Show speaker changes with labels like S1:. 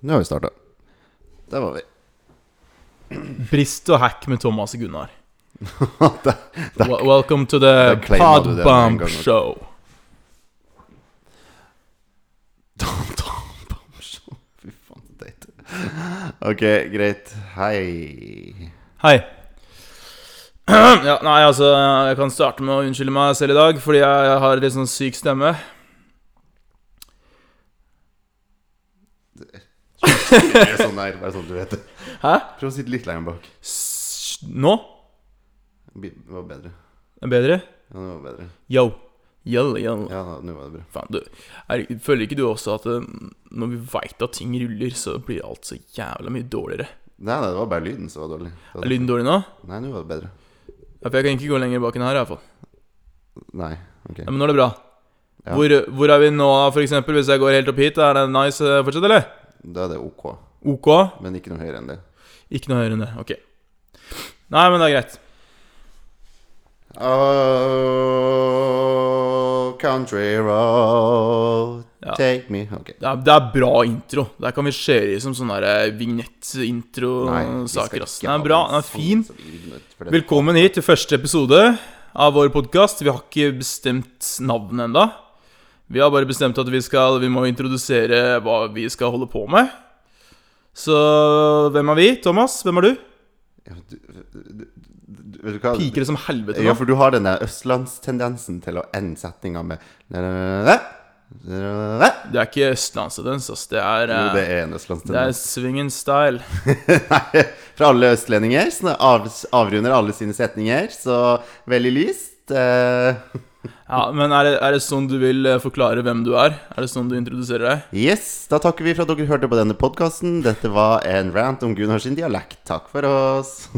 S1: Nå har vi starta. Der var vi.
S2: Brist og hack med Thomas og Gunnar.
S1: Der- der-
S2: Wel- Welcome to the
S1: der claima du det med en
S2: Podbump
S1: gang.
S2: Show.
S1: Fy faen, teit. Ok, greit. Hei.
S2: Hei. Ja, nei, altså, jeg kan starte med å unnskylde meg selv i dag, fordi jeg, jeg har litt sånn syk stemme.
S1: Bare sånn der, bare sånn du vet det.
S2: Hæ?
S1: Prøv å sitte litt lenger bak.
S2: S nå?
S1: Bi- Det var bedre.
S2: Er det bedre?
S1: Ja, det var bedre.
S2: Yo. Yo, yo.
S1: Ja, nå- nå var det bra.
S2: Faen, du. Er, føler ikke du også at eh, når vi veit at ting ruller, så blir alt så jævla mye dårligere?
S1: Nei, nei, det var bare lyden som var dårlig. Det var-
S2: Er lyden dårlig nå?
S1: Nei, nå var det bedre.
S2: Ja, for jeg kan ikke gå lenger bak enn her, i hvert fall.
S1: Nei, ok.
S2: Ja, men nå er det bra.
S1: Ja.
S2: Hvor, hvor er vi nå, for eksempel, hvis jeg går helt opp hit? Er det nice eh, fortsatt, eller?
S1: Da er det ok.
S2: Ok?
S1: Men ikke noe høyere enn det.
S2: Ikke noe høyere enn det. Ok. Nei, men det er greit.
S1: Oh, country road,
S2: Ja.
S1: take me Ok.
S2: Det er, det er bra intro. Der kan vi skjære i som sånn
S1: Nei, vi skal
S2: vignett-intro-saker. ass.
S1: ikke
S2: Den
S1: ha
S2: er bra.
S1: den
S2: Den er
S1: sånn
S2: fin.
S1: som ignorant, for det-
S2: Velkommen hit til første episode av vår podkast. Vi har ikke bestemt navnet enda Vi har bare bestemt at vi, skal, vi må introdusere hva vi skal holde på med. Så hvem er vi? Thomas, hvem er du?
S1: Ja, du- du- du- Vet du hva?
S2: Piker det som helvete
S1: Ja,
S2: nå?
S1: for du har den der østlandstendensen til å ende setninga med Jo,
S2: Det er ikke østlandstendens, ass. Det er, eh,
S1: det er en
S2: det er
S1: østlandstendens.
S2: swingen style.
S1: Nei, fra alle østlendinger. Så når av, avrunder alle sine setninger, så veldig lyst. eh,
S2: Ja, men er det, er det sånn du vil eh, forklare hvem du er? Er det sånn du introduserer deg?
S1: yes, da takker vi for at dere hørte på denne podkasten. Dette var en rant om Gunnar sin dialekt. Takk for oss.